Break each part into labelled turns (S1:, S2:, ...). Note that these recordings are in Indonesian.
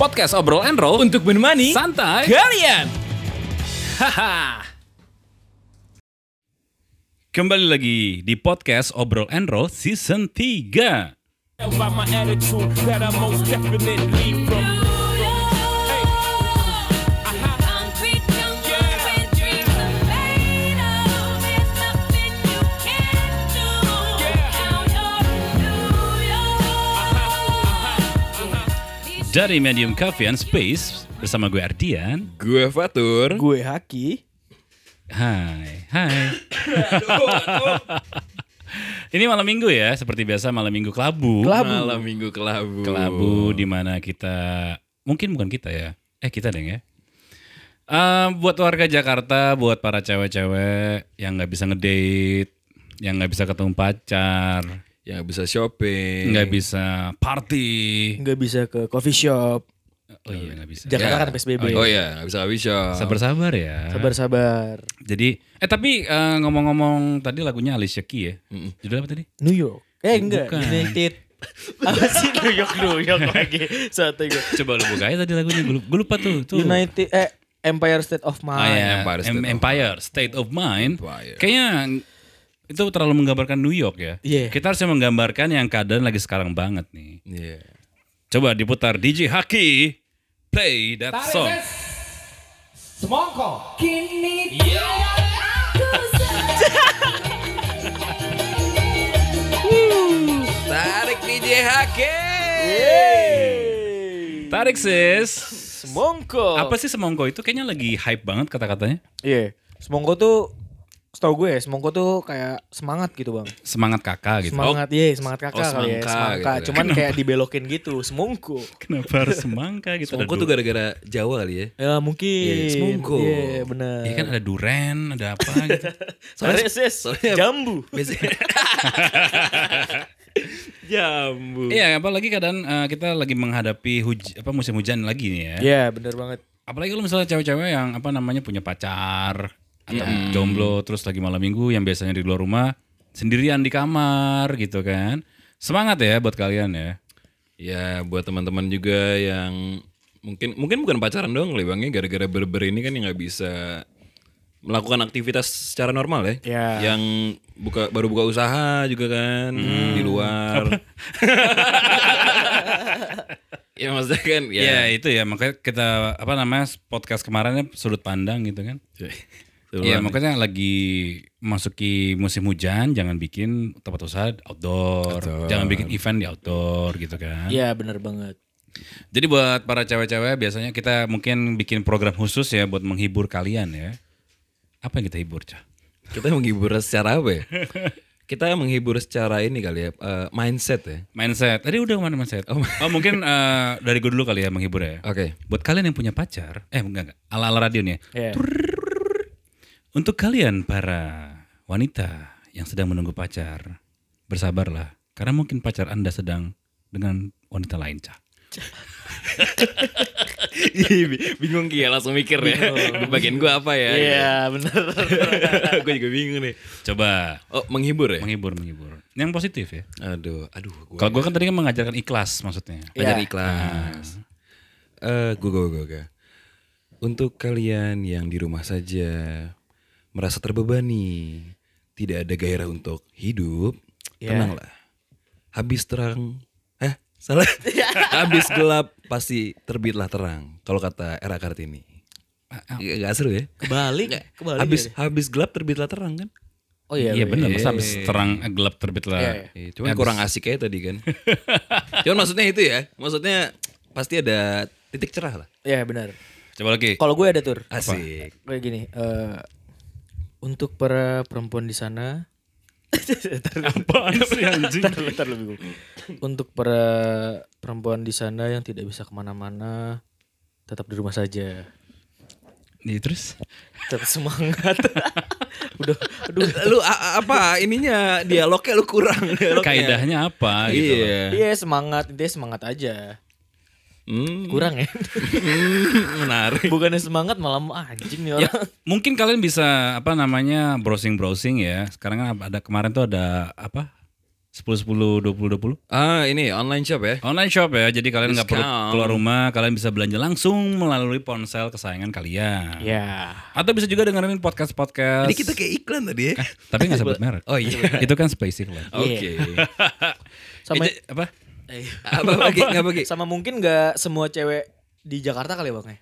S1: podcast obrol and roll
S2: untuk menemani
S1: santai.
S2: kalian.
S1: Haha. Kembali lagi di podcast obrol and roll season 3.
S3: by my attitude that I most definitely from.
S1: Dari Medium Coffee and Space bersama gue Ardian.
S4: Gue Fatur.
S2: Gue Haki.
S1: Hai, hai. Ini malam minggu ya, seperti biasa malam minggu kelabu.
S2: Kelabu.
S4: Malam Minggu Kelabu.
S1: Kelabu di mana kita mungkin bukan kita ya. Eh kita deng ya. Eh, buat warga Jakarta, buat para cewek-cewek yang nggak bisa ngedate, yang nggak bisa ketemu pacar,
S4: Yang Ya, bisa shopping.
S1: nggak bisa party.
S2: Nggak bisa ke coffee shop.
S1: Oh iya nggak bisa.
S2: Jakarta kan PSBB.
S4: Oh iya, nggak bisa coffee shop.
S1: Sabar-sabar ya.
S2: Sabar-sabar.
S1: Jadi, eh tapi eh, ngomong-ngomong tadi lagunya Alicia Keys ya. Judulnya apa tadi?
S2: New York. Eh enggak.
S1: Bukan.
S2: United. Apa sih New York New York lagi? Satu gue.
S1: Coba lu buka aja tadi lagunya. Gue lupa, gua lupa tuh. tuh.
S2: United eh Empire State of
S1: Ah,
S2: Mind.
S1: ya.
S4: Empire
S1: Empire,
S4: State
S1: State,
S4: of
S1: of Mind.
S4: Empire.
S1: Kayaknya itu terlalu menggambarkan New York ya.
S2: Iya.
S1: Kita harusnya menggambarkan yang keadaan lagi sekarang banget nih.
S4: Iya.
S1: Coba diputar DJ Haki. Play that song.
S4: Tarik DJ Hake.
S1: Tarik sis.
S2: Semongko.
S1: Apa sih semongko itu kayaknya lagi hype banget kata-katanya.
S2: Iya. Semongko tuh setahu gue ya, semongko tuh kayak semangat gitu bang.
S1: Semangat kakak gitu.
S2: Semangat, iya semangat kakak
S4: oh,
S2: kali ya.
S4: semangka
S2: Semangka.
S4: gitu ya.
S2: Cuman kayak dibelokin gitu, semongko.
S1: Oh, kenapa harus semangka gitu.
S4: Semongko tuh
S1: Ada du-
S4: gara-gara Jawa kali ya.
S2: Ya mungkin.
S4: Iya, semongko.
S2: Iya benar.
S1: Iya kan ada duren, ada apa gitu.
S2: Soalnya,
S4: soalnya-
S2: jambu.
S4: Biasanya. Jambu.
S1: Iya, apalagi keadaan eh, kita lagi menghadapi huj- apa musim hujan lagi nih ya.
S2: Iya benar banget.
S1: Apalagi lu misalnya cewek-cewek yang apa namanya punya pacar atau jomblo terus lagi malam minggu yang biasanya di luar rumah sendirian di kamar gitu kan. Semangat ya buat kalian ya.
S4: Ya buat teman-teman juga yang mungkin mungkin bukan pacaran doang kali bang ya gara-gara berber ini kan yang nggak bisa melakukan aktivitas secara normal ya.
S2: Ya.
S4: Yang buka baru buka usaha juga kan di luar. ya maksudnya kan ya.
S1: Ya itu ya makanya kita apa namanya podcast kemarin ya, sudut pandang gitu kan. Iya
S4: Iya,
S1: makanya lagi masuki musim hujan jangan bikin tempat usaha outdoor, jangan bikin event di outdoor gitu kan.
S2: Iya benar banget.
S1: Jadi buat para cewek-cewek biasanya kita mungkin bikin program khusus ya buat menghibur kalian ya. Apa yang kita hibur, Cah?
S4: kita menghibur secara apa ya? kita menghibur secara ini kali ya, eh, mindset ya.
S1: Mindset. Tadi udah mana mindset? Oh, mungkin eh, dari gue dulu kali ya menghibur ya.
S4: Oke.
S1: Buat kalian yang punya pacar, eh enggak enggak, ala-ala radio nih. ya.
S2: Iya.
S1: Untuk kalian para wanita yang sedang menunggu pacar, bersabarlah karena mungkin pacar Anda sedang dengan wanita lain, Cah.
S4: Iya, bingung Ki ya langsung mikir ya. Bagian gua apa ya?
S2: Iya benar.
S4: gue juga bingung nih.
S1: Coba
S4: Oh, menghibur ya?
S1: menghibur menghibur. Yang positif ya.
S4: Aduh, aduh. Gua
S1: Kalau gue kan tadi kan mengajarkan ikhlas maksudnya.
S4: Belajar
S2: Iya.
S4: ikhlas. Eh, gue gue gue gue. Untuk kalian yang di rumah saja merasa terbebani, tidak ada gairah untuk hidup,
S2: Iya.
S4: tenanglah. Habis terang, eh salah.
S2: Iya.
S4: Habis gelap pasti terbitlah terang. Kalau kata era Kartini.
S2: Ah,
S4: Gak, gak seru
S2: Iya,
S4: ya?
S2: Kebalik. Kebalik.
S4: habis
S2: ya.
S4: habis gelap terbitlah terang kan?
S2: Oh iya.
S1: Iya
S2: iya.
S1: benar, masa habis terang eh, gelap terbit lah.
S2: Iya, iya.
S4: Iya, cuman kurang asik aja tadi kan. cuman maksudnya itu ya. Maksudnya pasti ada titik cerah lah.
S2: Iya benar.
S1: Coba lagi.
S2: Kalau gue ada tur.
S4: Asik.
S2: Kayak gini. eh, untuk para perempuan di sana.
S1: Apaan sih anjing?
S2: Bentar, bentar, lu bingung. Untuk para perempuan di sana yang tidak bisa kemana-mana, tetap di rumah saja.
S1: Iya, terus?
S2: Tetap semangat. Udah, aduh.
S4: Lu a- a- apa ininya dialognya lu kurang dialognya.
S1: Kaidahnya apa gitu loh.
S4: Iya.
S2: Iya semangat, intinya semangat aja.
S4: Hmm,
S2: Kurang ya.
S4: menarik.
S2: Bukannya semangat malah mau anjing nih orang.
S1: Mungkin ya. kalian bisa apa namanya browsing-browsing ya. Sekarang kan ada kemarin tuh ada apa? 10 10 20 20.
S4: Ah ini online shop ya.
S1: Online shop ya, jadi kalian nggak perlu
S4: Discount.
S1: keluar rumah, kalian bisa belanja langsung melalui ponsel kesayangan kalian.
S2: Ya.
S1: Atau bisa juga dengerin podcast-podcast.
S4: Jadi kita kayak iklan tadi ya.
S1: Tapi nggak sebut merek.
S4: Oh iya.
S1: Itu kan Space Inlet.
S4: Oke.
S2: Sama
S1: Eh, apa?
S4: Apa bagi? Nggak bagi?
S2: sama mungkin nggak semua cewek di Jakarta kali ya Bang ya?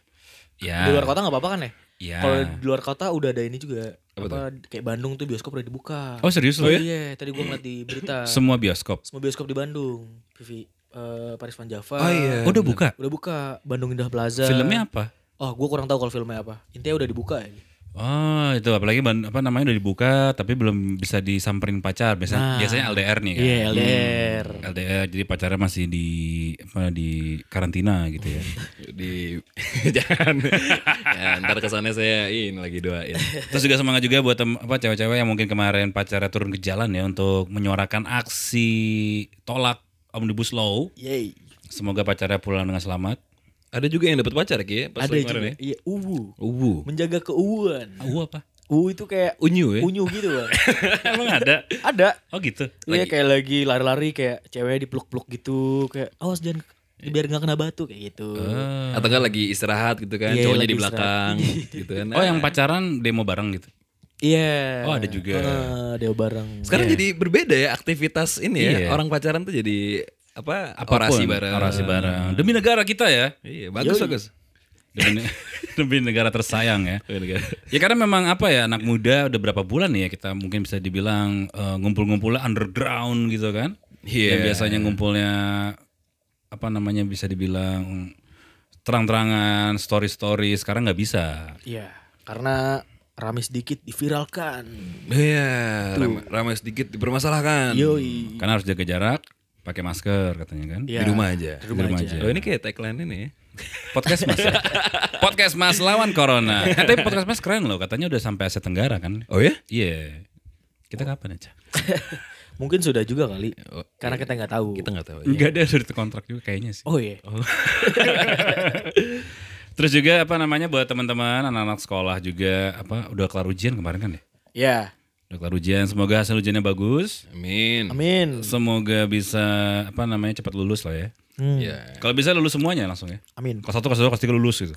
S1: Ya.
S2: Di luar kota nggak apa-apa kan ya?
S1: Ya.
S2: Kalau di luar kota udah ada ini juga.
S4: Apa
S2: Apa, kayak Bandung tuh bioskop udah dibuka.
S1: Oh, serius lo ya?
S2: Iya, tadi gua ngeliat di berita.
S1: Semua bioskop.
S2: Semua bioskop di Bandung. Vivi eh, Paris Van Java.
S4: Oh,
S1: Oh,
S4: iya.
S1: udah buka.
S2: Udah buka Bandung Indah Plaza.
S1: Filmnya apa?
S2: Oh, gua kurang tahu kalau filmnya apa. Intinya udah dibuka ya.
S1: Oh, itu apalagi ban- apa namanya udah dibuka tapi belum bisa disamperin pacar. Biasanya
S2: Nah.
S1: biasanya LDR nih kan. Hmm.
S2: Iya, LDR.
S1: LDR jadi pacarnya masih di apa di karantina gitu ya.
S4: Di jangan. ya, ntar kesannya saya ini lagi doain.
S1: Terus juga semangat juga buat tem- apa cewek-cewek yang mungkin kemarin pacarnya turun ke jalan ya untuk menyuarakan aksi tolak Omnibus Law.
S2: Yeay.
S1: Semoga pacarnya pulang dengan selamat.
S4: Ada juga yang dapat pacar Ki, ya? Pas
S2: Ada
S4: lu
S2: juga.
S4: kemarin ya?
S2: Iya, uwu.
S4: Uwu.
S2: Menjaga keuuan.
S1: Aku apa?
S2: Uwu itu kayak
S4: Unyu ya.
S2: unyu gitu, Bang.
S1: Emang ada?
S2: ada.
S1: Oh gitu.
S2: Iya kayak lagi lari-lari kayak cewek dipeluk-peluk gitu kayak awas jangan biar nggak kena batu kayak gitu.
S4: Atau kan lagi istirahat gitu kan,
S2: Iya,
S4: cowoknya
S2: lagi
S4: di belakang gitu kan.
S1: Oh
S2: Nah.
S1: yang pacaran demo bareng gitu.
S2: Iya.
S1: Oh, ada juga.
S2: Heeh, ada bareng.
S4: Ah, Sekarang jadi berbeda ya aktivitas ini ya.
S1: Iya.
S4: Orang pacaran tuh jadi apa?
S1: Apapun,
S4: orasi bareng.
S1: Orasi bareng. Demi negara kita ya.
S4: Iya, bagus
S2: Yoi.
S4: bagus.
S1: Demi, demi negara tersayang ya.
S4: Demi negara.
S1: Ya karena memang apa ya anak muda udah berapa bulan nih ya kita mungkin bisa dibilang eh, ngumpul-ngumpulnya underground gitu kan.
S4: Iya.
S1: Yang biasanya ngumpulnya apa namanya bisa dibilang terang-terangan, story-story sekarang nggak bisa.
S2: Iya. Karena rame sedikit diviralkan.
S4: Iya, ramai, ramai sedikit dipermasalahkan.
S2: Yoi.
S1: Karena harus jaga jarak, pakai masker katanya kan.
S2: Iya.
S4: Di rumah aja.
S2: Di rumah,
S1: Di rumah
S2: aja.
S1: aja.
S4: Oh ini kayak tagline ini ya.
S1: Podcast Mas. ya? podcast Mas lawan corona. Eh, tapi podcast Mas keren loh, katanya udah sampai Asia Tenggara kan.
S4: Oh ya?
S1: Iya. Kita kapan aja?
S2: Mungkin sudah juga kali. Karena kita nggak tahu.
S4: Kita nggak tahu. ya.
S1: Enggak ada surat kontrak juga kayaknya sih.
S2: Oh iya.
S1: Terus juga apa namanya buat teman-teman anak-anak sekolah juga apa udah kelar ujian kemarin kan ya?
S2: Ya.
S1: Udah kelar ujian, semoga hasil ujiannya bagus.
S4: Amin.
S2: Amin.
S1: Semoga bisa apa namanya cepat lulus lah ya.
S2: Hmm.
S4: Ya.
S1: Kalau bisa lulus semuanya langsung ya.
S2: Amin.
S1: Kelas satu, kelas dua, kelas tiga lulus gitu.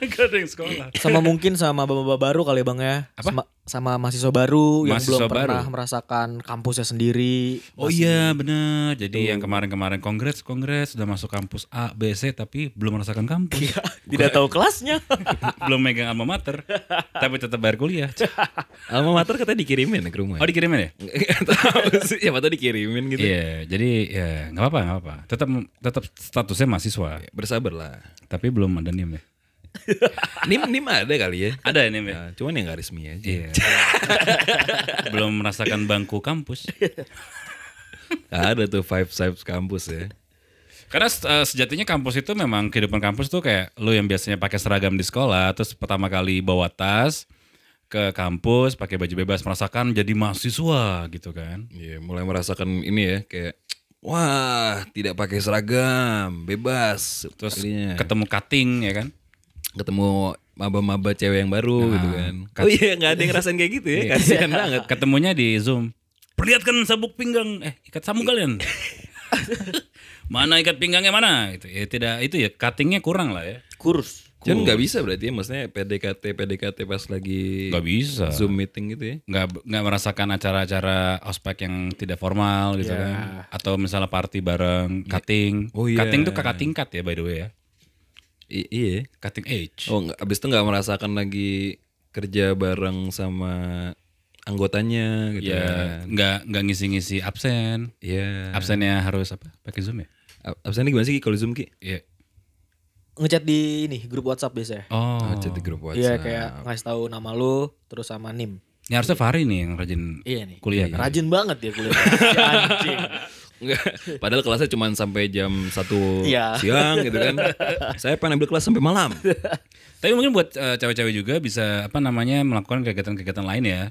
S1: Gak ada yang sekolah.
S2: Sama mungkin sama bapak-bapak baru kali ya, Bang ya. Sama, sama mahasiswa baru yang
S1: Mahasiswa
S2: belum pernah
S1: baru.
S2: merasakan kampusnya sendiri.
S1: Oh iya benar. Jadi yang kemarin-kemarin kongres kongres sudah masuk kampus A, B, C tapi belum merasakan kampus.
S2: Nah, Tidak tahu kelasnya.
S1: belum megang alma mater tapi tetap bayar kuliah.
S4: Alma mater katanya dikirimin ke rumah.
S1: Oh dikirimin ya?
S4: iya, Nggak tahu sih, siapa tahu dikirimin gitu.
S1: Iya, jadi ya nggak apa-apa, nggak apa-apa. Tetap tetap statusnya mahasiswa,
S4: Iya. Bersabarlah.
S1: tapi belum ada NIM ya.
S4: Nim nim ada kali ya.
S1: Ada ya NIM ya?
S4: Ya, cuman yang gak resmi aja.
S1: Iya. belum merasakan bangku kampus.
S4: Ada tuh five sides kampus ya.
S1: Karena eh, sejatinya kampus itu memang kehidupan kampus tuh kayak lu yang biasanya pakai seragam di sekolah, terus pertama kali bawa tas ke kampus pakai baju bebas merasakan jadi mahasiswa gitu kan.
S4: Iya, mulai merasakan ini ya kayak wah, tidak pakai seragam, bebas.
S1: Terus
S4: Akhirnya
S1: ketemu cutting ya kan.
S4: ketemu maba-maba cewek yang baru gitu kan. Oh iya, nggak ada yang ngerasain kayak gitu ya. Kasihan banget.
S1: Ketemunya di Zoom. Perlihatkan sabuk pinggang. Eh, ikat sambung kalian. mana ikat pinggangnya mana? Gitu. Ya tidak itu ya cuttingnya kurang lah ya.
S2: Kurus.
S4: Cuman nggak bisa berarti ya, maksudnya PDKT PDKT pas lagi
S1: Gak bisa.
S4: Zoom meeting gitu ya.
S1: Nggak nggak merasakan acara-acara ospek yang tidak formal gitu kan. Atau misalnya party bareng cutting.
S4: Oh, iya.
S1: Cutting tuh kakak tingkat ya by the way ya.
S4: I- iya.
S1: Cutting age.
S4: Oh, nggak- abis itu nggak merasakan lagi kerja bareng sama anggotanya gitu kan.
S1: Ya, nggak nggak ngisi-ngisi absen.
S4: Iya.
S1: Absennya harus apa? Pakai Zoom ya?
S4: Ab- Absennya gimana sih Ki, kalau Zoom Ki?
S1: Iya.
S2: Ngechat di ini grup WhatsApp biasanya.
S1: Oh.
S4: Oh, chat di grup
S2: Iya
S4: WhatsApp.
S2: kayak ngasih tahu nama lu terus sama NIM.
S1: Ini harusnya Fahri nih yang rajin
S2: Iya nih.
S1: kuliah kan.
S2: Rajin banget ya kuliah. Si anjing.
S4: Nggak, Padahal kelasnya cuma sampai jam 1
S2: Iya.
S4: siang gitu kan. Saya pengen ambil kelas sampai malam.
S1: Tapi mungkin buat eh, cewek-cewek juga bisa apa namanya melakukan kegiatan-kegiatan lain ya,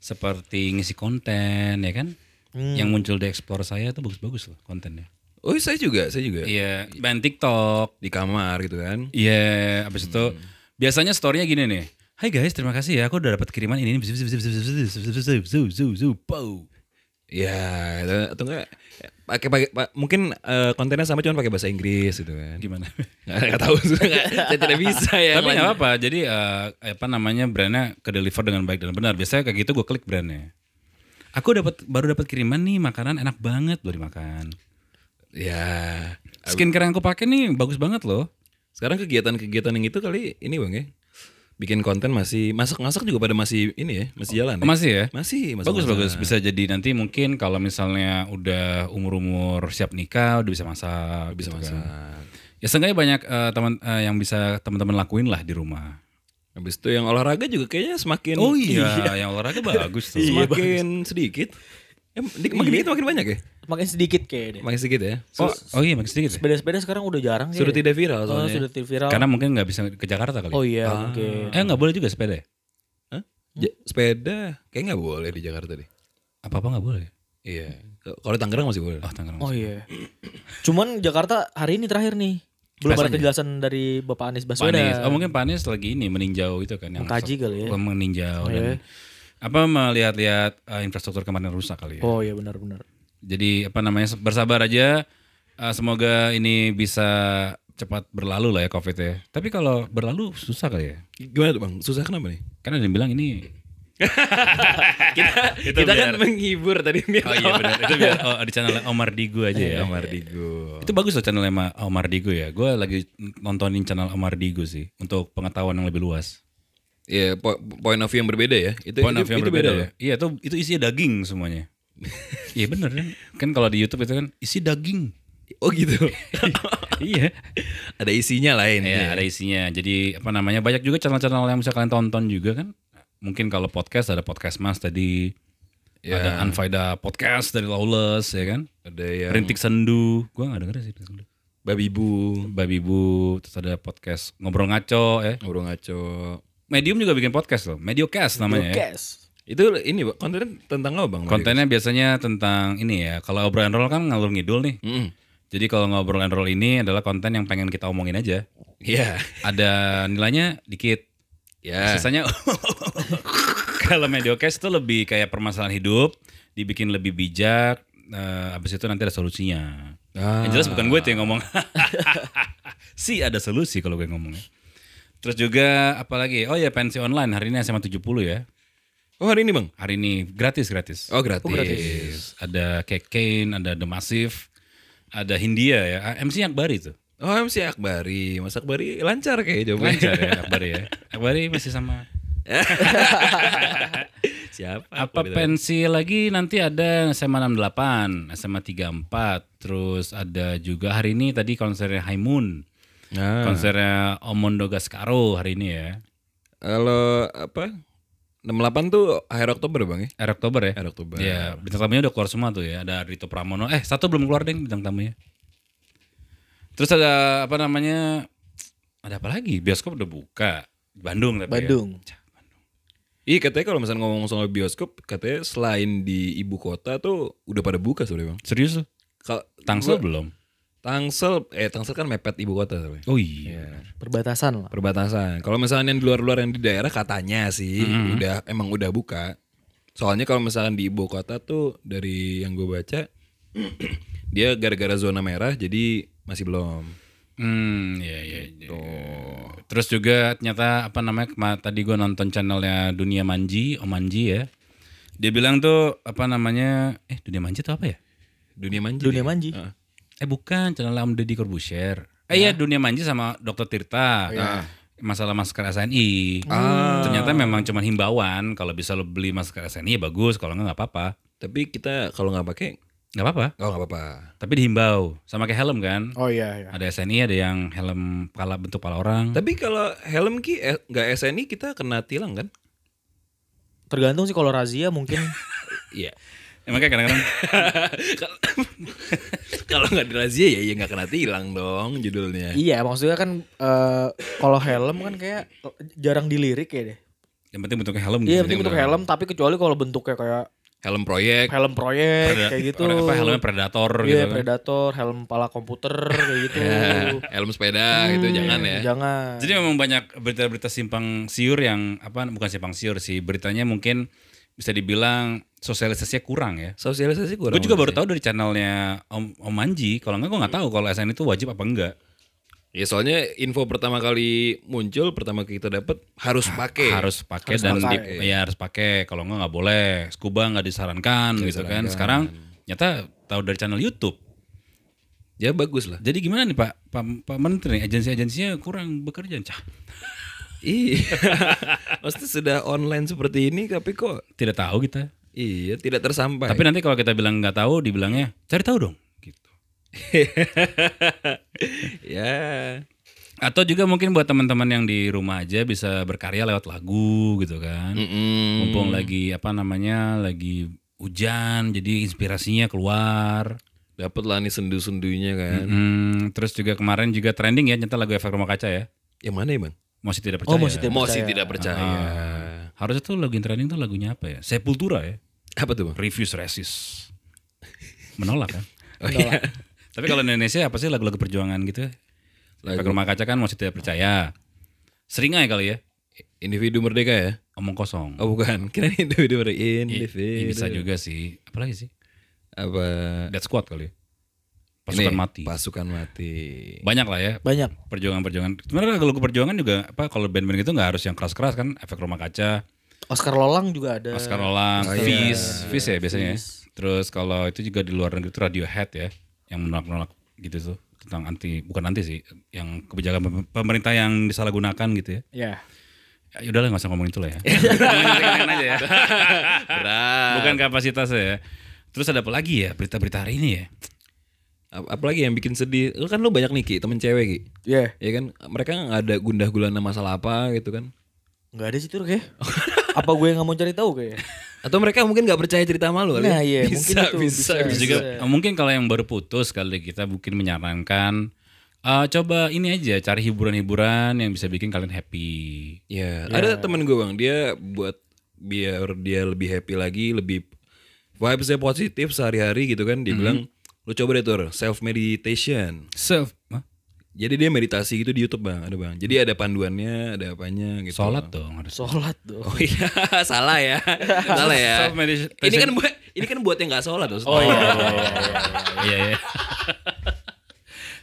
S1: seperti ngisi konten ya kan,
S4: Hmm.
S1: yang muncul di explore saya tuh bagus-bagus loh kontennya.
S4: Oh, saya juga, saya juga.
S1: Iya, main TikTok.
S4: Di kamar gitu kan.
S1: Iya, abis itu
S4: Hmm.
S1: biasanya story-nya gini nih. Hai guys, terima kasih ya. Aku udah dapat kiriman ini. ini, bzz, bzz, bzz, bzz, bzz, bzz, bzz, bzz, bzz, bzz, pow."
S4: Ya, atau enggak pakai pakai pa- mungkin eh, kontennya sama cuman pakai bahasa Inggris gitu kan.
S1: Gimana?
S4: Enggak tahu sudah nggak- saya tidak bisa ya.
S1: Tapi nggak apa-apa. Jadi eh, apa namanya brandnya ke deliver dengan baik dan benar. Biasanya kayak gitu gue klik brandnya. Aku dapat baru dapat kiriman nih makanan enak banget baru dimakan.
S4: Ya.
S1: Skincare yang aku pakai nih bagus banget loh.
S4: Sekarang kegiatan-kegiatan yang itu kali ini Bang ya. Bikin konten masih masak-masak juga pada masih ini ya, masih jalan. ya?
S1: Oh, masih ya?
S4: Masih, masak-masak.
S1: Bagus bagus bisa jadi nanti mungkin kalau misalnya udah umur umur siap nikah udah bisa masak
S4: Bisa
S1: gitu kan.
S4: masak.
S1: Ya seenggaknya banyak eh, teman eh, yang bisa teman-teman lakuin lah di rumah.
S4: Habis itu yang olahraga juga kayaknya semakin
S2: Oh, iya.
S1: yang olahraga Oh iya. bagus tuh.
S4: semakin sedikit. Ya, di- makin dikit makin banyak ya?
S2: Makin sedikit kayaknya. deh.
S4: Makin sedikit ya.
S1: Oh, iya. oh iya makin sedikit. ya?
S2: Sepeda-sepeda sekarang udah jarang sih.
S4: Sudah tidak viral
S2: Oh,
S4: soalnya.
S2: sudah tidak viral.
S1: Karena mungkin nggak bisa ke Jakarta kali.
S2: Oh iya, mungkin.
S1: Eh nggak boleh juga sepeda. ya?
S4: Hah? Ja- sepeda kayak nggak boleh di Jakarta deh.
S1: Apa apa nggak boleh.
S4: Iya. K- Kalau di Tangerang masih boleh.
S1: Oh Tangerang.
S2: Oh iya. Cuman Jakarta hari ini terakhir nih. Belum ada
S1: Rasanya.
S2: kejelasan dari Bapak Anies
S1: Pak Anies.
S2: Baswedan.
S1: Oh mungkin Pak Anies lagi ini meninjau itu kan.
S2: Mengkaji kali ya.
S1: Oh, Meninjau
S2: Oh,
S1: dan
S2: iya.
S1: apa melihat-lihat eh, infrastruktur kemarin rusak kali ya.
S2: Oh iya benar-benar.
S1: Jadi apa namanya bersabar aja. Eh, semoga ini bisa cepat berlalu lah ya COVID ya. Tapi kalau berlalu susah kali ya.
S4: Gimana tuh bang? Susah kenapa nih?
S1: Karena ada yang bilang ini
S4: kita kita kan menghibur tadi.
S1: Oh iya benar. Itu biar oh, di channel Omar Digo aja ya.
S4: Kamar Digo.
S1: Itu bagus loh channel Ema- Omar Digo ya. Gue lagi nontonin channel Omar Digo sih untuk pengetahuan yang lebih luas.
S4: Iya, po- point of view yang berbeda ya. Itu
S1: Point
S4: itu,
S1: of view yang
S4: itu
S1: berbeda
S4: beda
S1: ya. Iya, itu itu isinya daging semuanya. Iya bener kan. Kan kalau di YouTube itu kan isi daging.
S4: Oh gitu.
S1: iya.
S4: ada isinya lain.
S1: Iya, ada isinya. Jadi apa namanya? Banyak juga channel-channel yang bisa kalian tonton juga kan. Mungkin kalau podcast ada podcast Mas tadi.
S4: Ya.
S1: Ada Anfaida podcast dari Lawless ya kan.
S4: Ada yang
S1: Rintik Sendu. Gue gak denger sih Rintik Sendu.
S4: babi bu,
S1: Babi Bu, terus ada podcast Ngobrol Ngaco ya.
S4: ngobrol ngaco.
S1: Medium juga bikin podcast loh, Mediocast namanya ya.
S2: Podcast.
S4: Itu ini Bang, kontennya tentang apa bang?
S1: Kontennya biasanya tentang ini ya, kalau obrol and roll kan ngalur ngidul nih.
S4: Mm-mm.
S1: Jadi kalau ngobrol and roll ini adalah konten yang pengen kita omongin aja.
S4: Iya.
S1: Ada nilainya dikit.
S4: Ya.
S1: Sisanya kalau Mediocast tuh lebih kayak permasalahan hidup, dibikin lebih bijak, eh, abis itu nanti ada solusinya.
S4: Ah.
S1: Yang jelas bukan gue tuh yang ngomong. si ada solusi kalau gue ngomongnya. Terus juga apalagi, oh ya pensi online hari ini SMA 70 ya.
S4: Oh hari ini bang?
S1: Hari ini gratis gratis.
S4: Oh gratis.
S1: Ada Kate Kane, ada The Massive, ada Hindia ya. Ah, MC Akbari tuh.
S4: Oh MC Akbari, Mas Akbari lancar kayak jawabannya.
S1: Lancar ya Akbari ya. Akbari masih sama.
S4: Siapa? gitu.
S1: Apa pensi lagi nanti ada SMA 68, SMA 34, terus ada juga hari ini tadi konsernya High Moon.
S4: Nah.
S1: Konsernya Omondo Gascaro hari ini ya.
S4: Kalau apa? 68 tuh akhir Oktober bang ya?
S1: Air Oktober ya?
S4: Akhir Oktober.
S1: Iya, bintang tamunya udah keluar semua tuh ya. Ada Rito Pramono. Eh, satu belum keluar deh bintang tamunya. Terus ada apa namanya? Ada apa lagi? Bioskop udah buka. Bandung tapi
S2: Bandung.
S1: Ya.
S4: Iya katanya kalau misalnya ngomong soal bioskop, katanya selain di ibu kota tuh udah pada buka sebenarnya bang.
S1: Serius lu?
S4: Kalau
S1: Tangsel
S4: gua-
S1: belum?
S4: Tangsel, eh Tangsel kan mepet ibu kota sebenarnya.
S1: Oh iya.
S2: Perbatasan lah.
S4: Perbatasan. Kalau misalnya yang di luar-luar yang di daerah katanya sih udah emang udah buka. Soalnya kalau misalkan di ibu kota tuh dari yang gue baca dia gara-gara zona merah jadi masih belum.
S1: Hmm, iya iya. iya. Terus juga ternyata apa namanya? kema- Tadi gua nonton channelnya Dunia Manji, Om Manji ya. Dia bilang tuh apa namanya? Eh, Dunia Manji tuh apa ya?
S4: Dunia manja. dia.
S2: Dunia Manji.
S4: Iya. Heeh.
S1: Eh bukan, channel Om Deddy Corbusier. Eh iya, Dunia Manji sama Dokter Tirta. Masalah masker SNI. Ternyata memang cuma himbauan. Kalau bisa lo beli masker SNI ya bagus. Kalau nggak nggak apa-apa.
S4: Tapi kita kalau nggak pakai,
S1: Nggak apa-apa.
S4: oh nggak apa-apa.
S1: Tapi dihimbau. Sama kayak helm kan.
S2: Oh iya iya.
S1: Ada SNI, ada yang helm kepala bentuk kepala orang.
S4: Tapi kalau helm ki eh, nggak SNI kita kena tilang kan?
S2: Tergantung sih kalau razia mungkin.
S4: Iya.
S1: Emang kayak kadang-kadang.
S4: kalau nggak dirazia ya ya nggak kena tilang dong judulnya.
S2: iya, maksudnya kan eh, kalau helm kan kayak jarang dilirik ya deh.
S1: yang penting bentuknya helm.
S2: Iya, yang
S1: gitu.
S2: penting bentuk helm tapi kecuali kalau bentuknya kayak
S4: Helm proyek.
S2: helm proyek
S1: Ada-
S2: kayak gitu.
S1: ada Apa, helmnya predator
S2: Iya,
S1: gitu. kan.
S2: predator, helm kepala komputer kayak gitu. Hmm,
S4: Helm sepeda itu jangan ya.
S2: Jangan.
S1: Jadi memang banyak berita-berita simpang siur yang apa bukan simpang siur sih beritanya mungkin bisa dibilang sosialisasinya kurang ya.
S4: Sosialisasi
S1: Gue
S4: kurang.
S1: juga baru tahu dari channelnya Om, Om Manji. Kalau enggak gue nggak tahu kalau SN itu wajib apa enggak.
S4: Ya soalnya info pertama kali muncul, pertama kita dapat Ah, harus pakai.
S1: Harus pakai dan di, ya harus pakai. Kalau enggak nggak boleh. Scuba nggak disarankan gitu kan. Sekarang nyata tahu dari channel YouTube.
S4: Ya bagus lah.
S1: Jadi gimana nih Pak Pak, Pak Menteri? Agensi-agensinya kurang bekerja, cah.
S4: Iya. Maksudnya sudah online seperti ini tapi kok
S1: Tidak tahu kita.
S4: iya tidak tersampaikan.
S1: Tapi nanti kalau kita bilang nggak tahu, dibilangnya cari tahu dong. Gitu.
S4: ya.
S1: Atau juga mungkin buat teman-teman yang di rumah aja bisa berkarya lewat lagu gitu
S4: Hmm.
S1: kan.
S4: Mm-mm.
S1: Mumpung lagi apa namanya lagi hujan, jadi inspirasinya keluar.
S4: Dapat lah nih sendu-sendunya kan.
S1: Mm, terus juga kemarin juga trending ya nyata lagu efek rumah kaca ya.
S4: Yang mana ya bang?
S1: Masih tidak percaya.
S2: Masih Tidak
S4: Mosi
S2: percaya.
S4: tidak percaya. Ah.
S1: Harusnya tuh lagu yang trending tuh lagunya apa ya? Sepultura ya.
S4: Apa tuh bang?
S1: Refuse Resist. Menolak kan.
S4: Oh, iya.
S1: Tapi kalau di Indonesia apa sih lagu-lagu perjuangan gitu?
S4: Lagu.
S1: Efek rumah kaca kan masih tidak percaya. Seringai kali ya.
S4: Individu merdeka ya?
S1: Omong kosong.
S4: Oh iya, bukan. Kira individu merdeka.
S1: I-
S4: Individu.
S1: i- bisa juga sih. Apalagi sih?
S4: Apa?
S1: Dead Squad kali. ya? Pasukan
S4: Eh. Ini,
S1: mati.
S4: Pasukan mati.
S1: Banyak lah ya
S2: Banyak.
S1: perjuangan-perjuangan. Sebenarnya kalau lagu perjuangan juga apa kalau band-band gitu nggak harus yang keras-keras kan efek rumah kaca,
S2: Oscar Lolang juga ada.
S1: Eh, Oscar Olang,
S4: Oh, iya.
S1: Fizz, Fizz ya biasanya. ya.
S2: Fizz.
S1: Terus kalau itu juga di luar negeri itu Radiohead ya yang menolak-nolak gitu tuh tentang anti bukan anti sih yang kebijakan pem- pemerintah yang disalahgunakan gitu ya.
S2: Ya.
S1: Ya udahlah nggak usah ngomongin itu lah ya. Ringan-ringan aja ya.
S4: Berat.
S1: Bukan kapasitasnya ya. Terus ada apa lagi ya berita-berita hari ini ya?
S4: Ap- Apalagi yang bikin sedih. Lu Kan lu banyak nih Ki, temen cewek Ki.
S2: Ya.
S4: Ya kan mereka nggak ada gundah gulana masalah apa gitu kan.
S2: Enggak ada sih tuh kayak. Apa gue nggak mau cari tahu kayak?
S4: Atau mereka mungkin nggak percaya cerita sama lu kali. ya?
S2: Nah, iya,
S4: bisa,
S2: mungkin itu,
S4: bisa,
S2: bisa.
S4: bisa,
S1: Terus juga eh, mungkin kalau yang baru putus kali kita mungkin menyarankan eh, coba ini aja cari hiburan-hiburan yang bisa bikin kalian happy.
S4: Ya, ada temen gue bang, dia buat biar dia lebih happy lagi, lebih vibesnya positif sehari-hari gitu kan. Dia
S1: Mhm.
S4: bilang, lu coba deh tur self meditation.
S1: Self, Hah?
S4: Jadi dia meditasi gitu di YouTube bang, ada bang.
S1: Hmm.
S4: Jadi ada panduannya, ada apanya gitu.
S1: sholat dong harus.
S2: Sholat dong.
S4: Oh iya, salah ya, salah ya.
S1: Self meditation.
S4: Ini kan buat, ini kan buat yang nggak sholat loh.
S1: Oh iya. Iya iya.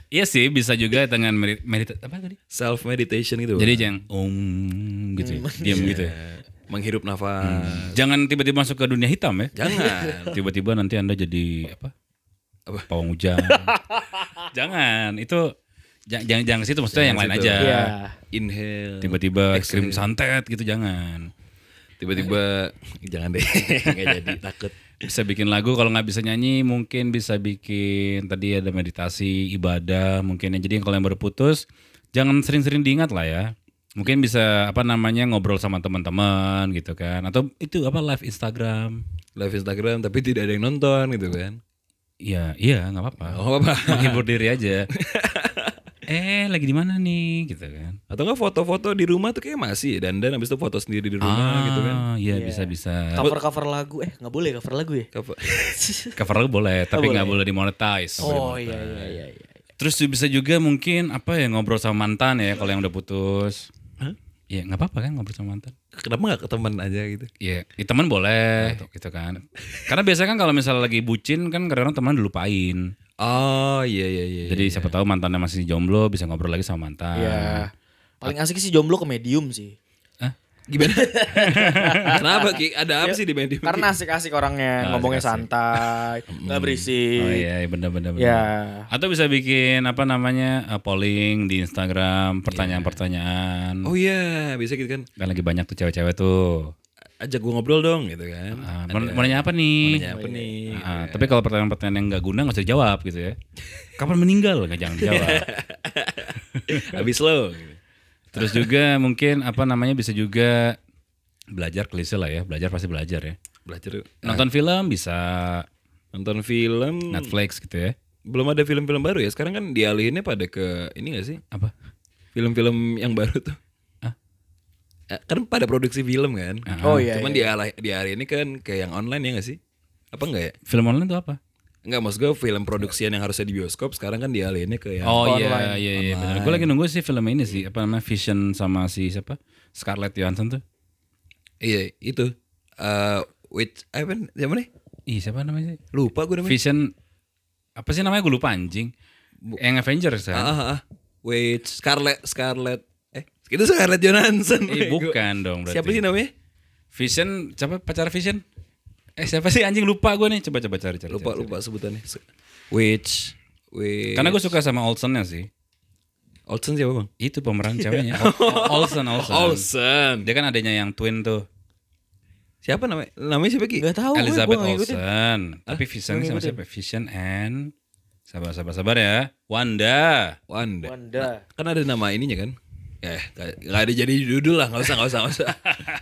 S1: Iya sih bisa juga dengan medit, medit- apa tadi?
S4: Self meditation gitu. Bang.
S1: Jadi jangan om gitu, ya, diam gitu. ya.
S4: Ya, menghirup nafas.
S1: Jangan tiba-tiba masuk ke dunia hitam ya.
S4: Jangan.
S1: Tiba-tiba nanti anda jadi apa?
S4: Apa?
S1: Pawang hujan. jangan itu jangan jangan, jangan ke situ maksudnya yang lain
S4: situ.
S1: aja.
S2: Iya.
S4: Inhale.
S1: Tiba-tiba ekstrim santet gitu jangan.
S4: Tiba-tiba jangan deh, nggak jadi takut.
S1: Bisa bikin lagu kalau nggak bisa nyanyi mungkin bisa bikin tadi ada meditasi ibadah mungkin ya. Jadi kalau yang baru putus jangan sering-sering diingat lah ya. Mungkin bisa apa namanya ngobrol sama teman-teman gitu kan atau itu apa live Instagram.
S4: live Instagram tapi tidak ada yang nonton gitu kan.
S1: Iya, iya nggak apa-apa.
S4: Oh apa?
S1: Menghibur diri aja. eh, lagi di mana nih gitu kan.
S4: Atau enggak foto-foto di rumah tuh kayak masih dan dan habis itu foto sendiri di rumah
S1: Ah,
S4: gitu kan.
S1: Iya, bisa-bisa.
S2: Cover cover lagu eh nggak boleh cover lagu ya?
S4: Kapa-
S1: Cover lagu boleh, tapi nggak boleh dimonetize.
S2: Oh iya iya iya. iya.
S1: Terus juga bisa juga mungkin apa ya ngobrol sama mantan ya kalau yang udah putus. Iya nggak apa-apa kan ngobrol sama mantan.
S4: Kenapa nggak ke teman aja gitu?
S1: Iya, ya, teman boleh gitu kan. Karena biasanya kan kalau misalnya lagi bucin kan kadang-kadang teman dilupain.
S4: Oh iya iya iya.
S1: Jadi siapa tahu mantannya masih jomblo bisa ngobrol lagi sama mantan.
S2: Iya. Paling asik sih jomblo ke medium sih.
S4: gimana? Kenapa Ki? Ada apa sih di medium? Ki?
S2: Iya. Karena asik-asik orangnya, ngomongnya santai,
S4: Mm.
S2: nggak berisik.
S1: Oh iya, iya, bener-bener. bener.
S2: Ya.
S1: Atau bisa bikin apa namanya eh, polling di Instagram pertanyaan-pertanyaan.
S4: Oh iya, bisa gitu kan.
S1: Kan lagi banyak tuh cewek-cewek tuh.
S4: Ajak gua ngobrol dong gitu kan.
S1: Ah, mau, mau nanya apa nih?
S4: Nanya apa nih?
S1: Ah, Tapi kalau pertanyaan-pertanyaan yang nggak guna nggak usah dijawab gitu ya. Kapan meninggal nggak jangan dijawab.
S4: Iya. Habis lo. gitu.
S1: Terus juga mungkin apa namanya bisa juga belajar klise lah ya. Belajar pasti belajar ya.
S4: Belajar yuk.
S1: Nonton film bisa
S4: nonton film.
S1: Netflix gitu ya.
S4: Belum ada film-film baru ya. Sekarang kan dialihinnya pada ke ini gak sih?
S1: Apa?
S4: film-film yang baru tuh.
S1: Hah? Ah.
S4: Eh, Kan pada produksi film kan.
S2: Oh iya.
S4: Cuman
S2: iya.
S4: di ala- di hari ini kan kayak yang online ya gak sih? Apa enggak ya?
S1: Film online itu apa?
S4: Enggak maksud gue film produksian yang harusnya di bioskop sekarang kan dialihinnya ke yang
S1: oh iya iya iya benar. Gue lagi nunggu sih film ini sih apa namanya Vision sama si siapa? Scarlett Johansson tuh.
S4: iya itu Eh, which apa siapa nih?
S1: Ih siapa namanya sih?
S4: Lupa gue namanya.
S1: Vision apa sih namanya gue lupa anjing. Yang Avengers
S4: Ah,
S1: kan?
S4: ah, ah. Wait, Scarlett, Scarlett. Eh, itu Scarlett Johansson.
S1: Eh,
S4: Gua-
S1: bukan dong berarti.
S4: Siapa sih namanya?
S1: Vision siapa pacar Vision? Eh siapa sih anjing lupa gue nih coba coba cari cari.
S4: Lupa
S1: cari, cari.
S4: lupa sebutannya. Se- Which, which.
S1: Karena gue suka sama Olsen-nya sih.
S4: Olsen siapa bang?
S1: Itu pemeran
S2: Iya.
S1: ceweknya. Ol- Olsen Olsen.
S4: Olsen.
S1: Dia kan adanya yang twin tuh.
S4: Siapa namanya? Namanya siapa ki?
S2: Gak tahu gue,
S1: Elizabeth
S2: gue gak Oh, ngikutin.
S1: Olsen. Tapi Vision
S2: Gua
S1: sama
S2: ngikutin.
S1: siapa? Vision and sabar sabar sabar ya. Wanda.
S4: Wanda.
S2: Wanda.
S4: Kan ada nama ininya kan? Ya, gak, gak ada jadi judul lah, gak usah, gak usah, gak usah.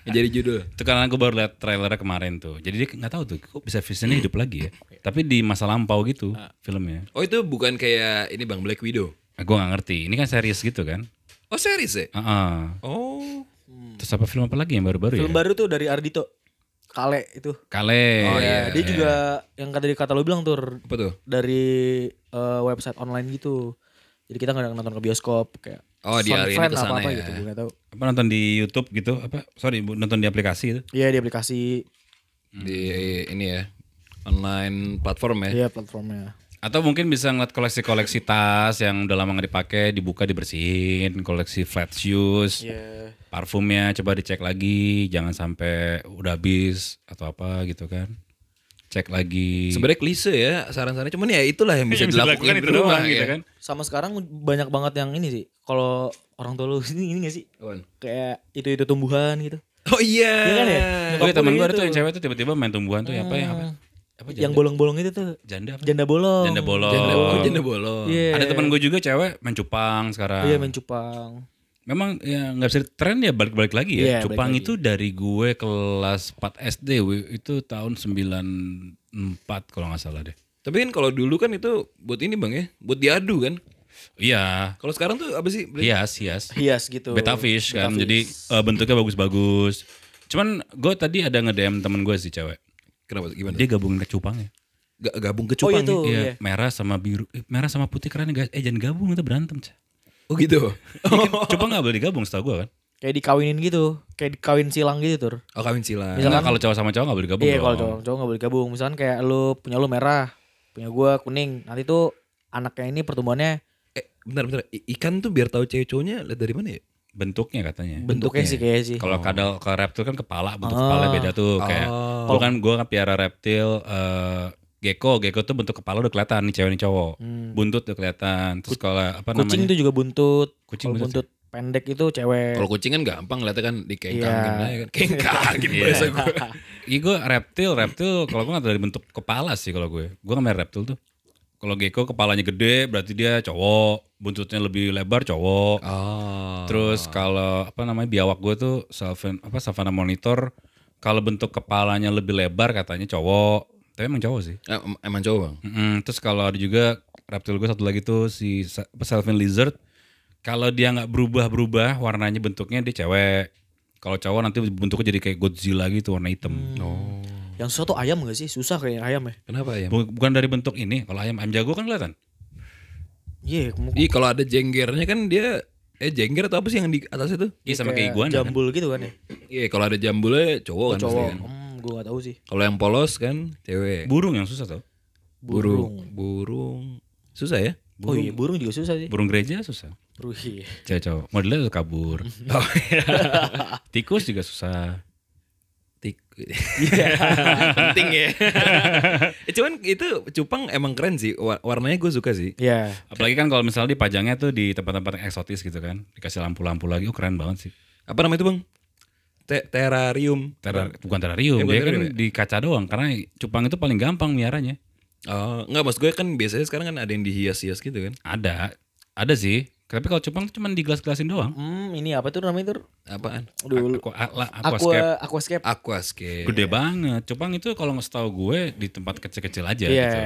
S4: Nggak jadi judul.
S1: Itu karena gue baru liat trailernya kemarin tuh. Jadi dia nggak tahu tuh kok bisa Visionnya hidup lagi ya. Tapi di masa lampau gitu
S2: Ah.
S1: filmnya.
S4: Oh itu bukan kayak ini bang Black Widow.
S1: Nah, gue nggak ngerti. Ini kan series gitu kan?
S4: Oh series ya?
S1: Heeh.
S4: Oh.
S1: Terus apa film apa lagi yang baru-baru ya?
S4: iya.
S2: Hmm. Film baru tuh dari Ardito. Kale itu.
S1: Kale.
S4: Oh, iya.
S2: Ya, dia juga yang tadi kata lo bilang tuh
S4: Apa tuh?
S2: dari eh, website online gitu. Jadi kita nggak nonton ke bioskop kayak
S4: Oh, dialihin
S2: Sound Friend
S4: ke sana
S2: apa-apa
S4: ya.
S2: gitu, gue nggak tahu.
S1: Apa nonton di YouTube gitu? Apa? Sorry, bu- nonton di aplikasi gitu. itu.
S2: Iya di aplikasi,
S1: Hmm.
S4: Di ini ya, online platform ya.
S2: iya platformnya.
S1: Atau mungkin bisa ngeliat koleksi-koleksi tas yang udah lama nggak dipakai, dibuka dibersihin, koleksi flat shoes,
S2: Iya.
S1: parfumnya coba dicek lagi, jangan sampai udah habis atau apa gitu kan. Cek lagi.
S4: Sebenarnya klise ya saran-sarannya, cuman ya itulah yang bisa,
S1: Yang
S4: dilakukan
S1: dilakukan
S4: di rumah
S1: doang iya.
S4: gitu kan.
S2: Sama sekarang banyak banget yang ini sih. Kalau orang tua lu ini ini gak sih? Kayak itu-itu tumbuhan gitu.
S4: Oh iya.
S2: Iya kan
S1: Oh,
S2: ya?
S1: iya,
S2: Nyokap
S1: temen
S2: gue
S1: gue ada tuh
S2: gitu.
S1: yang cewek tuh tiba-tiba main tumbuhan tuh yang apa yang apa? Apa
S2: Yang bolong-bolong itu tuh.
S1: Janda apa?
S2: Janda bolong.
S1: Janda bolong.
S4: Janda- oh,
S1: ya,
S4: janda bolong.
S2: Iya.
S1: Ada teman gue juga cewek main cupang sekarang.
S2: Iya main cupang.
S1: Memang ya nggak bisa tren ya balik-balik lagi ya.
S2: Iya,
S1: Cupang
S2: balik lagi.
S1: itu dari gue kelas 4 SD we- itu tahun 94 kalau nggak salah deh.
S4: Tapi kan kalau dulu kan itu buat ini bang ya, buat diadu kan.
S1: Iya,
S4: Kalau sekarang tuh apa sih? Beli-
S1: hias hias.
S2: Hias gitu.
S1: Beta fish kan.
S2: Betta
S1: Jadi
S2: fish.
S1: eh, bentuknya bagus-bagus. Cuman gue tadi ada nge-DM temen gue sih cewek.
S4: Kenapa? tuh? Gimana?
S1: Dia gabungin ke cupang ya.
S4: Ga- gabung ke
S2: Oh iya
S4: cupang.
S2: tuh.
S4: ya?
S1: Iya,
S2: iya.
S1: merah sama biru. Eh, merah sama putih keren ya guys. Eh jangan gabung itu berantem, Cah.
S4: Oh gitu.
S1: Cupang nggak boleh digabung setahu gue kan.
S2: Kayak dikawinin gitu. Kayak dikawin silang gitu tuh.
S4: Oh kawin silang.
S1: Misalkan kalau cowok sama cowok nggak boleh digabung.
S2: Iya kalau
S1: dong.
S2: cowok cowok nggak boleh gabung. Misalkan kayak lu punya lu merah, punya gua kuning. Nanti tuh anaknya ini pertumbuhannya
S4: Eh, bentar bentar. I- ikan tuh biar tahu cewek cowoknya lihat dari mana ya?
S1: Bentuknya katanya.
S2: bentuknya, sih kayak sih.
S1: Kalau kadal ke reptil kan kepala bentuk kepala beda tuh kayak
S4: Oh.
S1: gua kan gua kan piara reptil eh, gecko, gecko tuh bentuk kepala udah kelihatan nih cewek nih cowok. Buntut udah kelihatan. Terus kalau apa
S2: Hmm. Kucing
S1: namanya?
S2: tuh juga buntut.
S1: Kucing
S2: Kalau
S1: buntut
S2: buntut pendek itu cewek.
S4: Kalau kucing kan gampang lihatnya kan di
S2: Iya.
S4: kengkangin aja kan. Kengkangin bahasa gue.
S1: Iya gua reptil, reptil kalau gua nggak dari bentuk kepala sih kalau gue. Gua nggak main reptil tuh. Kalau gecko kepalanya gede berarti dia cowok, buntutnya lebih lebar cowok.
S4: Oh.
S1: Terus kalau apa namanya biawak gue tuh savana, apa savana monitor kalau bentuk kepalanya lebih lebar katanya cowok. Tapi emang cowok sih.
S4: Eh, em- emang cowok bang?
S1: Mm-mm. Terus kalau ada juga reptil gue satu lagi tuh si sa- apa, Sylvan Lizard. Kalau dia nggak berubah-berubah warnanya bentuknya dia cewek. Kalau cowok nanti bentuknya jadi kayak Godzilla gitu warna hitam.
S2: Yang susah tuh ayam gak sih? Susah kayak ayam ya.
S4: Kenapa ya?
S1: Bu- Bukan dari bentuk ini. Kalau ayam ayam jago kan kelihatan.
S2: Iya, kamu
S4: Iya kalau ada jenggernya kan dia eh jengger atau apa sih yang di atas itu?
S1: Iya sama kayak iguana kan.
S2: jambul gitu kan ya.
S4: Iya kalau ada jambulnya cowok kan pasti
S2: Cowok.
S4: kan.
S2: Hmm, gua gak tahu sih.
S4: Kalau yang polos kan cewek.
S1: Burung yang susah tau.
S4: Burung. Burung. Susah ya?
S2: Oh iya, burung juga susah sih.
S1: Burung gereja susah.
S2: Burung. iya.
S1: Cewek cowok. Modelnya tuh kabur. Oh, iya. Tikus juga susah.
S4: Tik. Penting ya. Eh, Cuman itu cupang emang keren sih. Wa- Warnanya gue suka sih.
S2: Iya.
S1: Apalagi kan kalau misalnya dipajangnya tuh di tempat-tempat yang eksotis gitu kan. Dikasih lampu-lampu lagi, oh keren banget sih.
S4: Apa namanya itu bang? Te- terrarium.
S1: Terra- bukan terrarium,
S4: Ya, bukan
S1: dia kan
S4: terrarium ya?
S1: di kaca doang karena cupang itu paling gampang miaranya.
S4: Oh, enggak maksud gue kan biasanya sekarang kan ada yang dihias-hias gitu kan.
S1: Ada, ada sih. Tapi kalau cupang tuh cuma digelas-gelasin doang.
S2: Hmm, ini apa tuh namanya tuh?
S4: Apaan?
S2: Aduh,
S1: Aku, ala, aquascape.
S2: aqua aquascape. Ah,
S4: Aquascape.
S1: Gede banget. Cupang itu kalau nggak setahu gue di tempat kecil-kecil aja
S2: Iya.
S1: gitu.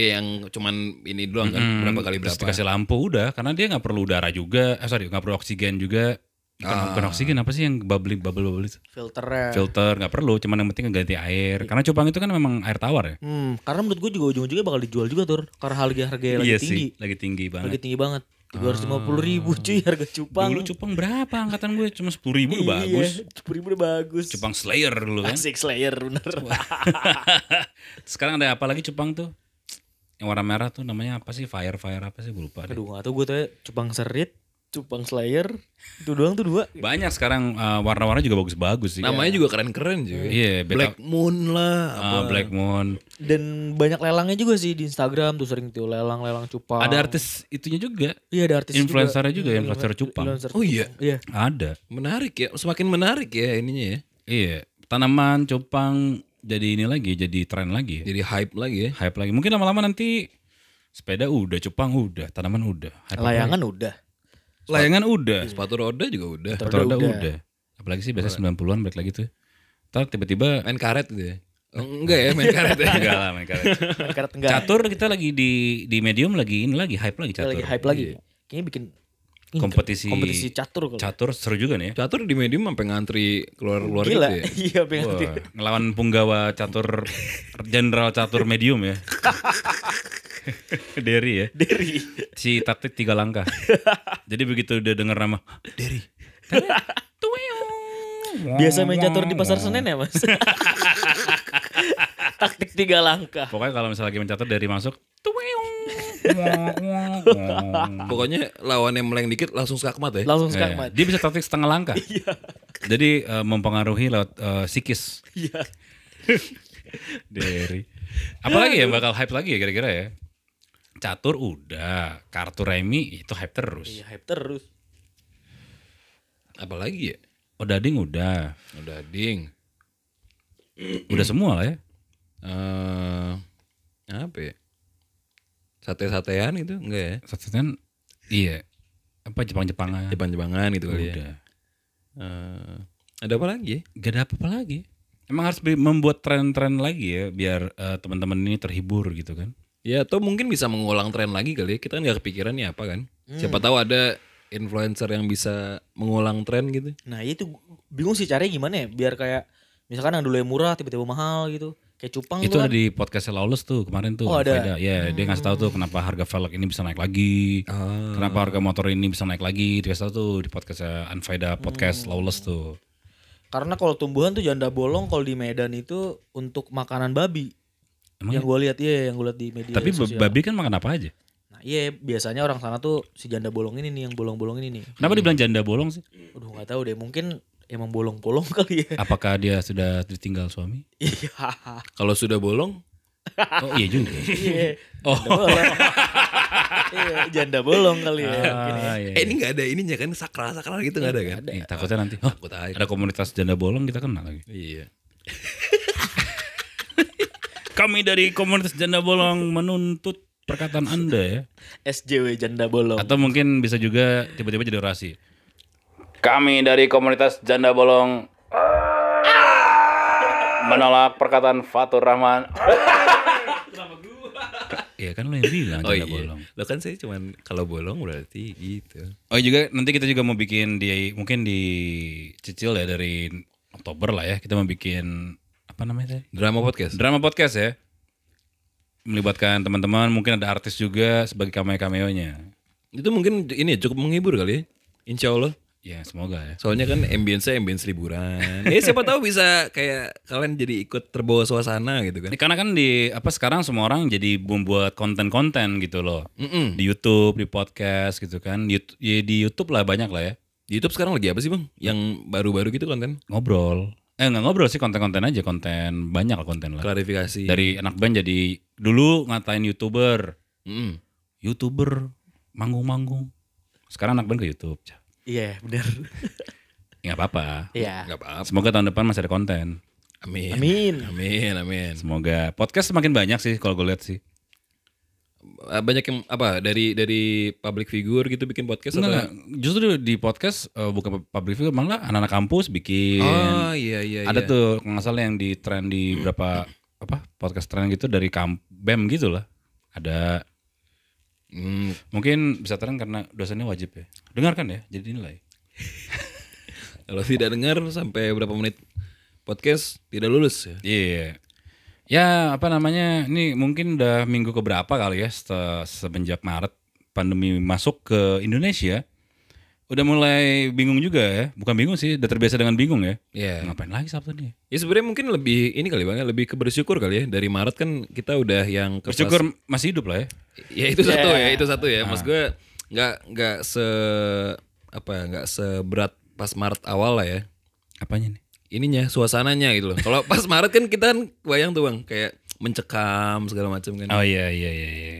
S4: Iya yang cuman ini doang kan
S1: Hmm,
S4: berapa kali
S1: terus
S4: berapa.
S1: dikasih lampu udah karena dia nggak perlu udara juga. Eh sorry, nggak perlu oksigen juga. Bukan, bukan oksigen apa sih yang bubbling bubble bubble itu?
S2: Filternya.
S1: Filter nggak perlu, cuman yang penting ngeganti air. Karena cupang itu kan memang air tawar ya.
S2: Hmm, karena menurut gue juga ujung-ujungnya bakal dijual juga tuh karena harga harga lagi
S1: iya sih,
S2: tinggi,
S1: lagi tinggi banget.
S2: lagi tinggi banget. tiga ratus lima puluh ribu cuy harga cupang. Iya.
S1: Dulu Cupang berapa angkatan gue? Cuma 10 ribu udah bagus.
S2: Sepuluh ribu udah bagus.
S1: Cupang Slayer dulu kan.
S2: Asik Slayer bener.
S1: Sekarang ada apa lagi Cupang tuh? Yang warna merah tuh namanya apa sih? Fire Fire apa sih? Gue lupa deh.
S2: Aduh nggak tahu gue tuh ya. cupang serit, cupang Slayer, itu doang tuh dua.
S1: Banyak sekarang uh, warna-warna juga bagus-bagus sih.
S4: Namanya juga keren-keren cuy.
S1: Iya,
S4: Black
S1: Black,
S4: Moon lah.
S1: ah, Black Moon.
S2: Dan banyak lelangnya juga sih di Instagram tuh sering tuh lelang-lelang cupang.
S1: Ada artis itunya juga.
S2: Iya ada artis
S1: influencernya juga,
S2: Iya,
S1: influencer cupang.
S2: influencer
S4: Oh iya.
S2: cupang. Iya.
S1: Ada.
S4: Menarik ya, semakin menarik ya ininya ya.
S1: Iya, tanaman Cupang jadi ini lagi, jadi tren lagi.
S4: Jadi hype lagi ya.
S1: Hype lagi. Mungkin lama-lama nanti sepeda udah, Cupang udah, tanaman udah. Hype apa
S2: Layangan udah.
S1: lagi? layangan udah.
S4: Sepatu roda juga udah.
S2: Betul.
S1: Roda
S2: Roda
S1: udah.
S2: udah.
S1: Apalagi sih biasanya 90-an balik lagi tuh. Ntar tiba-tiba
S4: Main karet gitu ya. Oh, enggak ya main karet ya.
S1: enggak lah main karet.
S2: Karena tengah.
S1: Catur kita lagi di di medium lagi ini lagi hype lagi catur.
S2: lagi hype lagi. Kayaknya bikin ini
S1: Kompetisi-
S2: kompetisi catur kalau.
S1: Iya. Catur seru juga nih ya.
S4: Catur di medium sampai ngantri keluar-keluar gitu
S2: Gila.
S4: ya.
S2: Iya pengen
S1: Wah,
S2: tidur.
S1: ngelawan punggawa catur jenderal catur medium ya. Derry ya.
S2: Dari
S1: Si taktik tiga langkah. Jadi begitu udah denger nama Derry.
S2: biasa main catur di pasar Senen ya mas. Taktik tiga langkah.
S1: Pokoknya kalau misalnya lagi mencatat dari masuk, tuweung.
S4: Pokoknya lawan yang meleng dikit langsung skakmat ya.
S2: Langsung
S1: Iya,
S2: sekarang mati.
S1: dia bisa taktik setengah langkah. Jadi eh, mempengaruhi lewat eh, psikis
S2: Iya.
S1: dari. Apalagi ya bakal hype lagi ya kira-kira ya. Catur udah, kartu remi itu hype terus.
S2: Iya hype terus.
S4: Apalagi ya?
S1: Odading Oh, udah,
S4: Udah ding.
S1: udah semua lah ya.
S4: Eh, apa ya? Sate-satean gitu enggak ya?
S1: Satunya iya apa Jepang-Jepangan.
S4: Jepang-jepangan gitu kali ya.
S1: Nah, udah.
S4: Eh, ada apa lagi ya?
S1: Gak ada apa-apa lagi. Emang harus bi- membuat tren-tren lagi ya biar eh, teman-teman ini terhibur gitu kan.
S4: Ya atau mungkin bisa mengulang tren lagi kali ya. Kita kan gak kepikiran nih apa kan. Siapa tahu ada influencer yang bisa mengulang tren gitu.
S2: Nah itu gu- bingung sih caranya gimana ya biar kayak misalkan yang dulu yang murah tiba-tiba mahal gitu. Kayak cupang
S1: Itu
S2: tuh
S1: ada
S2: kan.
S1: di podcastnya Lawless tuh kemarin tuh.
S2: Oh, ada.
S1: Faida. Ya dia ngasih tahu tuh kenapa harga velg ini bisa naik lagi. Kenapa harga motor ini bisa naik lagi. Dikasih tahu tuh di podcastnya Anfaida
S2: Hmm.
S1: Podcast Lawless tuh.
S2: Karena kalau tumbuhan tuh janda bolong kalau di Medan itu untuk makanan babi.
S1: Emang ya?
S2: yang gue lihat iya yang gue lihat di media
S1: Tapi
S2: sosial.
S1: babi kan makan apa aja?
S2: Nah, iya biasanya orang sana tuh si janda bolong ini nih yang bolong-bolong ini nih.
S1: Kenapa dibilang janda bolong sih?
S2: Aduh nggak tahu deh mungkin emang bolong-bolong kali ya.
S1: Apakah dia sudah ditinggal suami?
S2: Iya.
S4: Kalau sudah bolong,
S1: Oh iya juga.
S2: Iya.
S1: Oh.
S2: Janda bolong. Iya, janda bolong kali ya. mungkin ya.
S1: Ah, iya.
S4: eh ini nggak ada ininya kan sakral-sakral gitu nggak ada kan?
S1: Ih, takutnya nanti "Hah,
S4: Takut aja.
S1: ada komunitas janda bolong kita kena lagi.
S4: Iya.
S1: Kami dari komunitas janda bolong menuntut perkataan Anda ya.
S2: SJW janda bolong.
S1: Atau mungkin bisa juga tiba-tiba jadi orasi. Kami dari komunitas Janda Bolong menolak perkataan Fatur Rahman. Iya kan lo yang bilang
S4: Oh
S1: Janda
S4: iya.
S1: Bolong.
S4: Lo kan saya cuman kalau bolong berarti gitu.
S1: Oh juga nanti kita juga mau bikin di mungkin di Cicil ya dari Oktober lah ya kita mau bikin apa namanya tadi?
S4: Drama podcast.
S1: Drama podcast ya. Melibatkan teman-teman, mungkin ada artis juga sebagai cameo-cameonya.
S4: Itu mungkin ini cukup menghibur kali ya. Insya Allah.
S1: Ya, semoga ya.
S4: Soalnya kan ambience-nya ambience liburan. ya siapa tahu bisa kayak kalian jadi ikut terbawa suasana gitu kan.
S1: Ya, Karena kan di apa sekarang semua orang jadi membuat konten-konten gitu loh.
S4: Mm-mm.
S1: Di YouTube, di podcast gitu kan. Yut- ya, di YouTube lah banyak lah ya.
S4: Di YouTube sekarang lagi apa sih bang? Yang baru-baru gitu konten?
S1: Ngobrol. Eh nggak ngobrol sih konten-konten aja, konten banyak lah konten lah.
S4: Klarifikasi.
S1: Dari anak band jadi dulu ngatain YouTuber.
S4: Mm-mm.
S1: YouTuber manggung-manggung. Sekarang anak band ke YouTube.
S2: Iya, benar.
S1: Ya nggak apa-apa.
S2: Iya.
S4: Nggak apa-apa.
S1: Semoga tahun depan masih ada konten.
S4: Amin.
S2: Amin.
S4: Amin, amin.
S1: Semoga podcast semakin banyak sih kalau gue lihat sih.
S4: Eh, Banyak yang apa dari dari public figure gitu bikin podcast
S1: Nggak,
S4: atau?
S1: nggak. justru di podcast eh, bukan public figure malah anak-anak kampus bikin.
S4: Oh iya iya.
S1: ada
S4: iya.
S1: tuh kalau nggak salah yang di tren di berapa apa podcast tren gitu dari kamp bem gitu lah ada
S4: Hmm,
S1: mungkin bisa tren karena dosennya wajib ya dengarkan ya jadi nilai
S4: Kalau tidak dengar sampai berapa menit podcast tidak lulus ya.
S1: iya ya apa namanya ini mungkin udah minggu keberapa kali ya se- semenjak maret pandemi masuk ke Indonesia udah mulai bingung juga ya. Bukan bingung sih, udah terbiasa dengan bingung ya.
S4: Iya.
S1: Ngapain lagi Sabtu nih?
S4: Ya sebenarnya mungkin lebih ini kali bang ya, lebih ke bersyukur kali ya. Dari Maret kan kita udah yang ke
S1: Bersyukur masih hidup lah ya.
S4: Ya itu satu ya, itu satu ya. Mas gue nggak nggak se apa ya, nggak seberat pas Maret awal lah ya.
S1: Apanya nih?
S4: Ininya suasananya gitu loh. Kalau pas Maret kan kita kan bayang tuh bang kayak mencekam segala macam kan.
S1: Oh iya iya iya iya.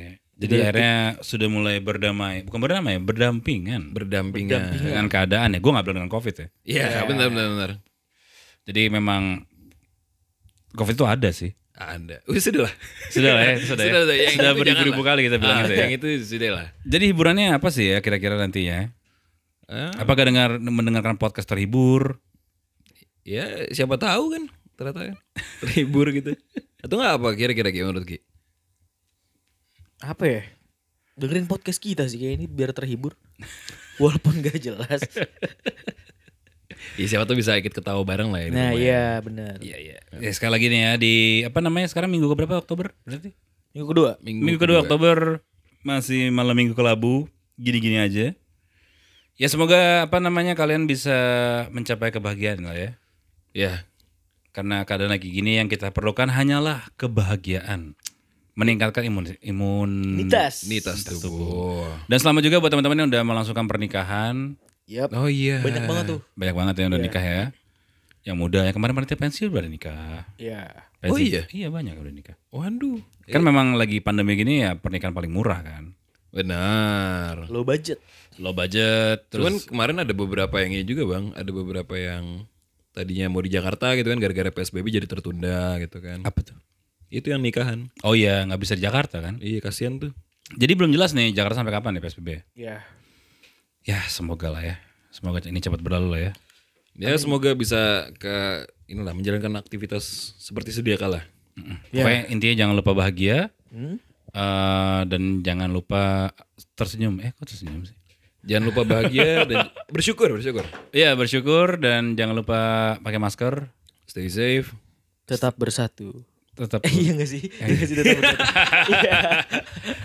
S1: Jadi akhirnya sudah mulai berdamai, bukan berdamai, berdampingan
S4: Berdampingan.
S1: dengan keadaan ya. Gue nggak bilang dengan COVID ya.
S4: Iya benar benar benar.
S1: Jadi memang COVID itu ada sih.
S4: Anda. Uh, sudah lah.
S1: Sudah lah ya, sudah ya.
S4: Sudah, yang
S1: Sudah
S4: itu
S1: beribu-ribu
S4: jangan lah.
S1: kali kita bilang
S4: Ah,
S1: gitu ya.
S4: Yang itu sudah lah.
S1: Jadi hiburannya apa sih ya kira-kira nantinya?
S4: Ah,
S1: Apakah dengar mendengarkan podcast terhibur?
S4: ya siapa tahu kan ternyata kan. terhibur gitu. Atau nggak apa kira-kira Ki, menurut Ki?
S2: apa ya dengerin podcast kita sih kayak ini biar terhibur walaupun gak jelas
S4: Ya, siapa tuh bisa ikut ketawa bareng lah ya. di
S2: nah
S4: rumah
S2: iya benar
S4: Iya iya.
S1: Ya, sekali lagi nih ya di apa namanya sekarang minggu ke berapa Oktober berarti?
S2: minggu kedua
S1: Minggu, kedua Oktober masih malam minggu kelabu gini-gini aja. Ya semoga apa namanya kalian bisa mencapai kebahagiaan lah ya.
S4: Ya.
S1: Karena keadaan lagi gini yang kita perlukan hanyalah kebahagiaan. Meningkatkan imun imun
S2: nitas
S4: Nitas tubuh.
S1: Dan selamat juga buat teman-teman yang udah melangsungkan pernikahan.
S2: Yap.
S4: Oh iya.
S2: banyak banget tuh
S1: Banyak banget yang udah nikah ya. Yang muda ya kemarin panitia pensil udah nikah.
S2: ya
S4: Oh
S1: Pensil-
S4: iya?
S1: Iya banyak yang udah nikah.
S4: Waduh.
S1: Kan memang lagi pandemi gini ya pernikahan paling murah kan.
S4: Benar.
S2: low budget
S1: Low budget
S4: Cuman
S1: terus
S4: kemarin ada beberapa yang ini juga bang, ada beberapa yang tadinya mau di Jakarta gitu kan gara-gara PSBB jadi tertunda gitu kan.
S1: apa tuh?
S4: Itu yang nikahan.
S1: Oh iya nggak bisa di Jakarta kan.
S4: Iya kasihan tuh.
S1: Jadi belum jelas nih Jakarta sampai kapan ya PSBB.
S2: ya
S1: Ya semoga lah ya. Semoga ini cepat berlalu lah ya.
S4: Ya semoga bisa ke inilah menjalankan aktivitas seperti sedia kala.
S1: Mm.
S4: Iya.
S1: Pokoknya intinya jangan lupa bahagia
S2: hmm?
S1: eh, dan jangan lupa tersenyum. Eh kok tersenyum sih?
S4: Jangan lupa bahagia dan bersyukur, bersyukur.
S1: Iya bersyukur dan jangan lupa pakai masker.
S4: Stay safe.
S2: tetap bersatu
S1: Tetap.
S2: eh, iya gak sih iya gak sih tetap bersatu Iya.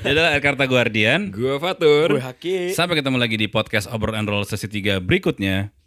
S1: Jadi Karta Guardian.
S4: Gua Fatur.
S2: gue haki
S1: Sampai ketemu lagi di podcast Obrolan Roll sesi 3 berikutnya.